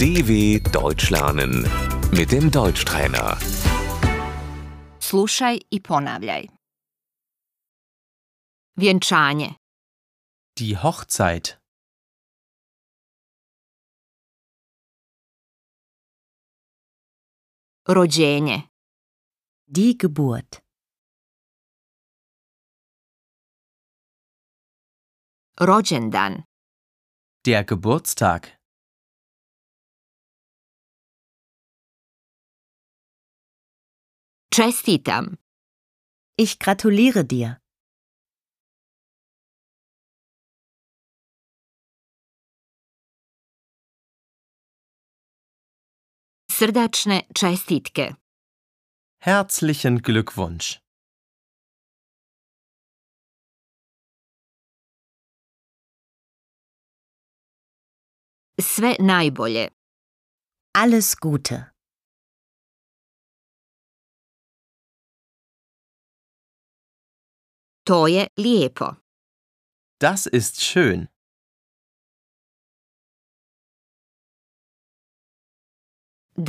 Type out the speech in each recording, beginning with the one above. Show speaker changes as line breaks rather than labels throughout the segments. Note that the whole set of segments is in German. DW Deutsch lernen mit dem Deutschtrainer.
Slušaj i ponavljaj. Vjenčanje,
Die Hochzeit.
rođenje,
Die Geburt.
rođendan,
Der Geburtstag.
čestitam,
Ich gratuliere dir.
srdačne čestitke,
Herzlichen Glückwunsch.
sve najbolje,
Alles Gute.
to je lijepo.
Das ist schön.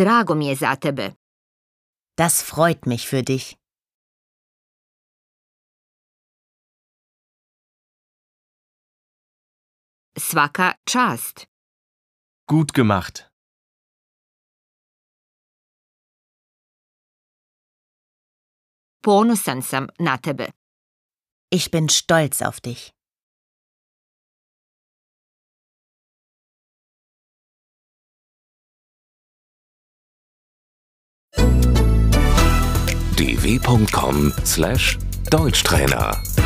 Drago mi je za tebe.
Das freut mich für dich.
Svaka čast.
Gut gemacht.
Ponosan sam na tebe.
Ich bin stolz auf dich.
dw.com/deutschtrainer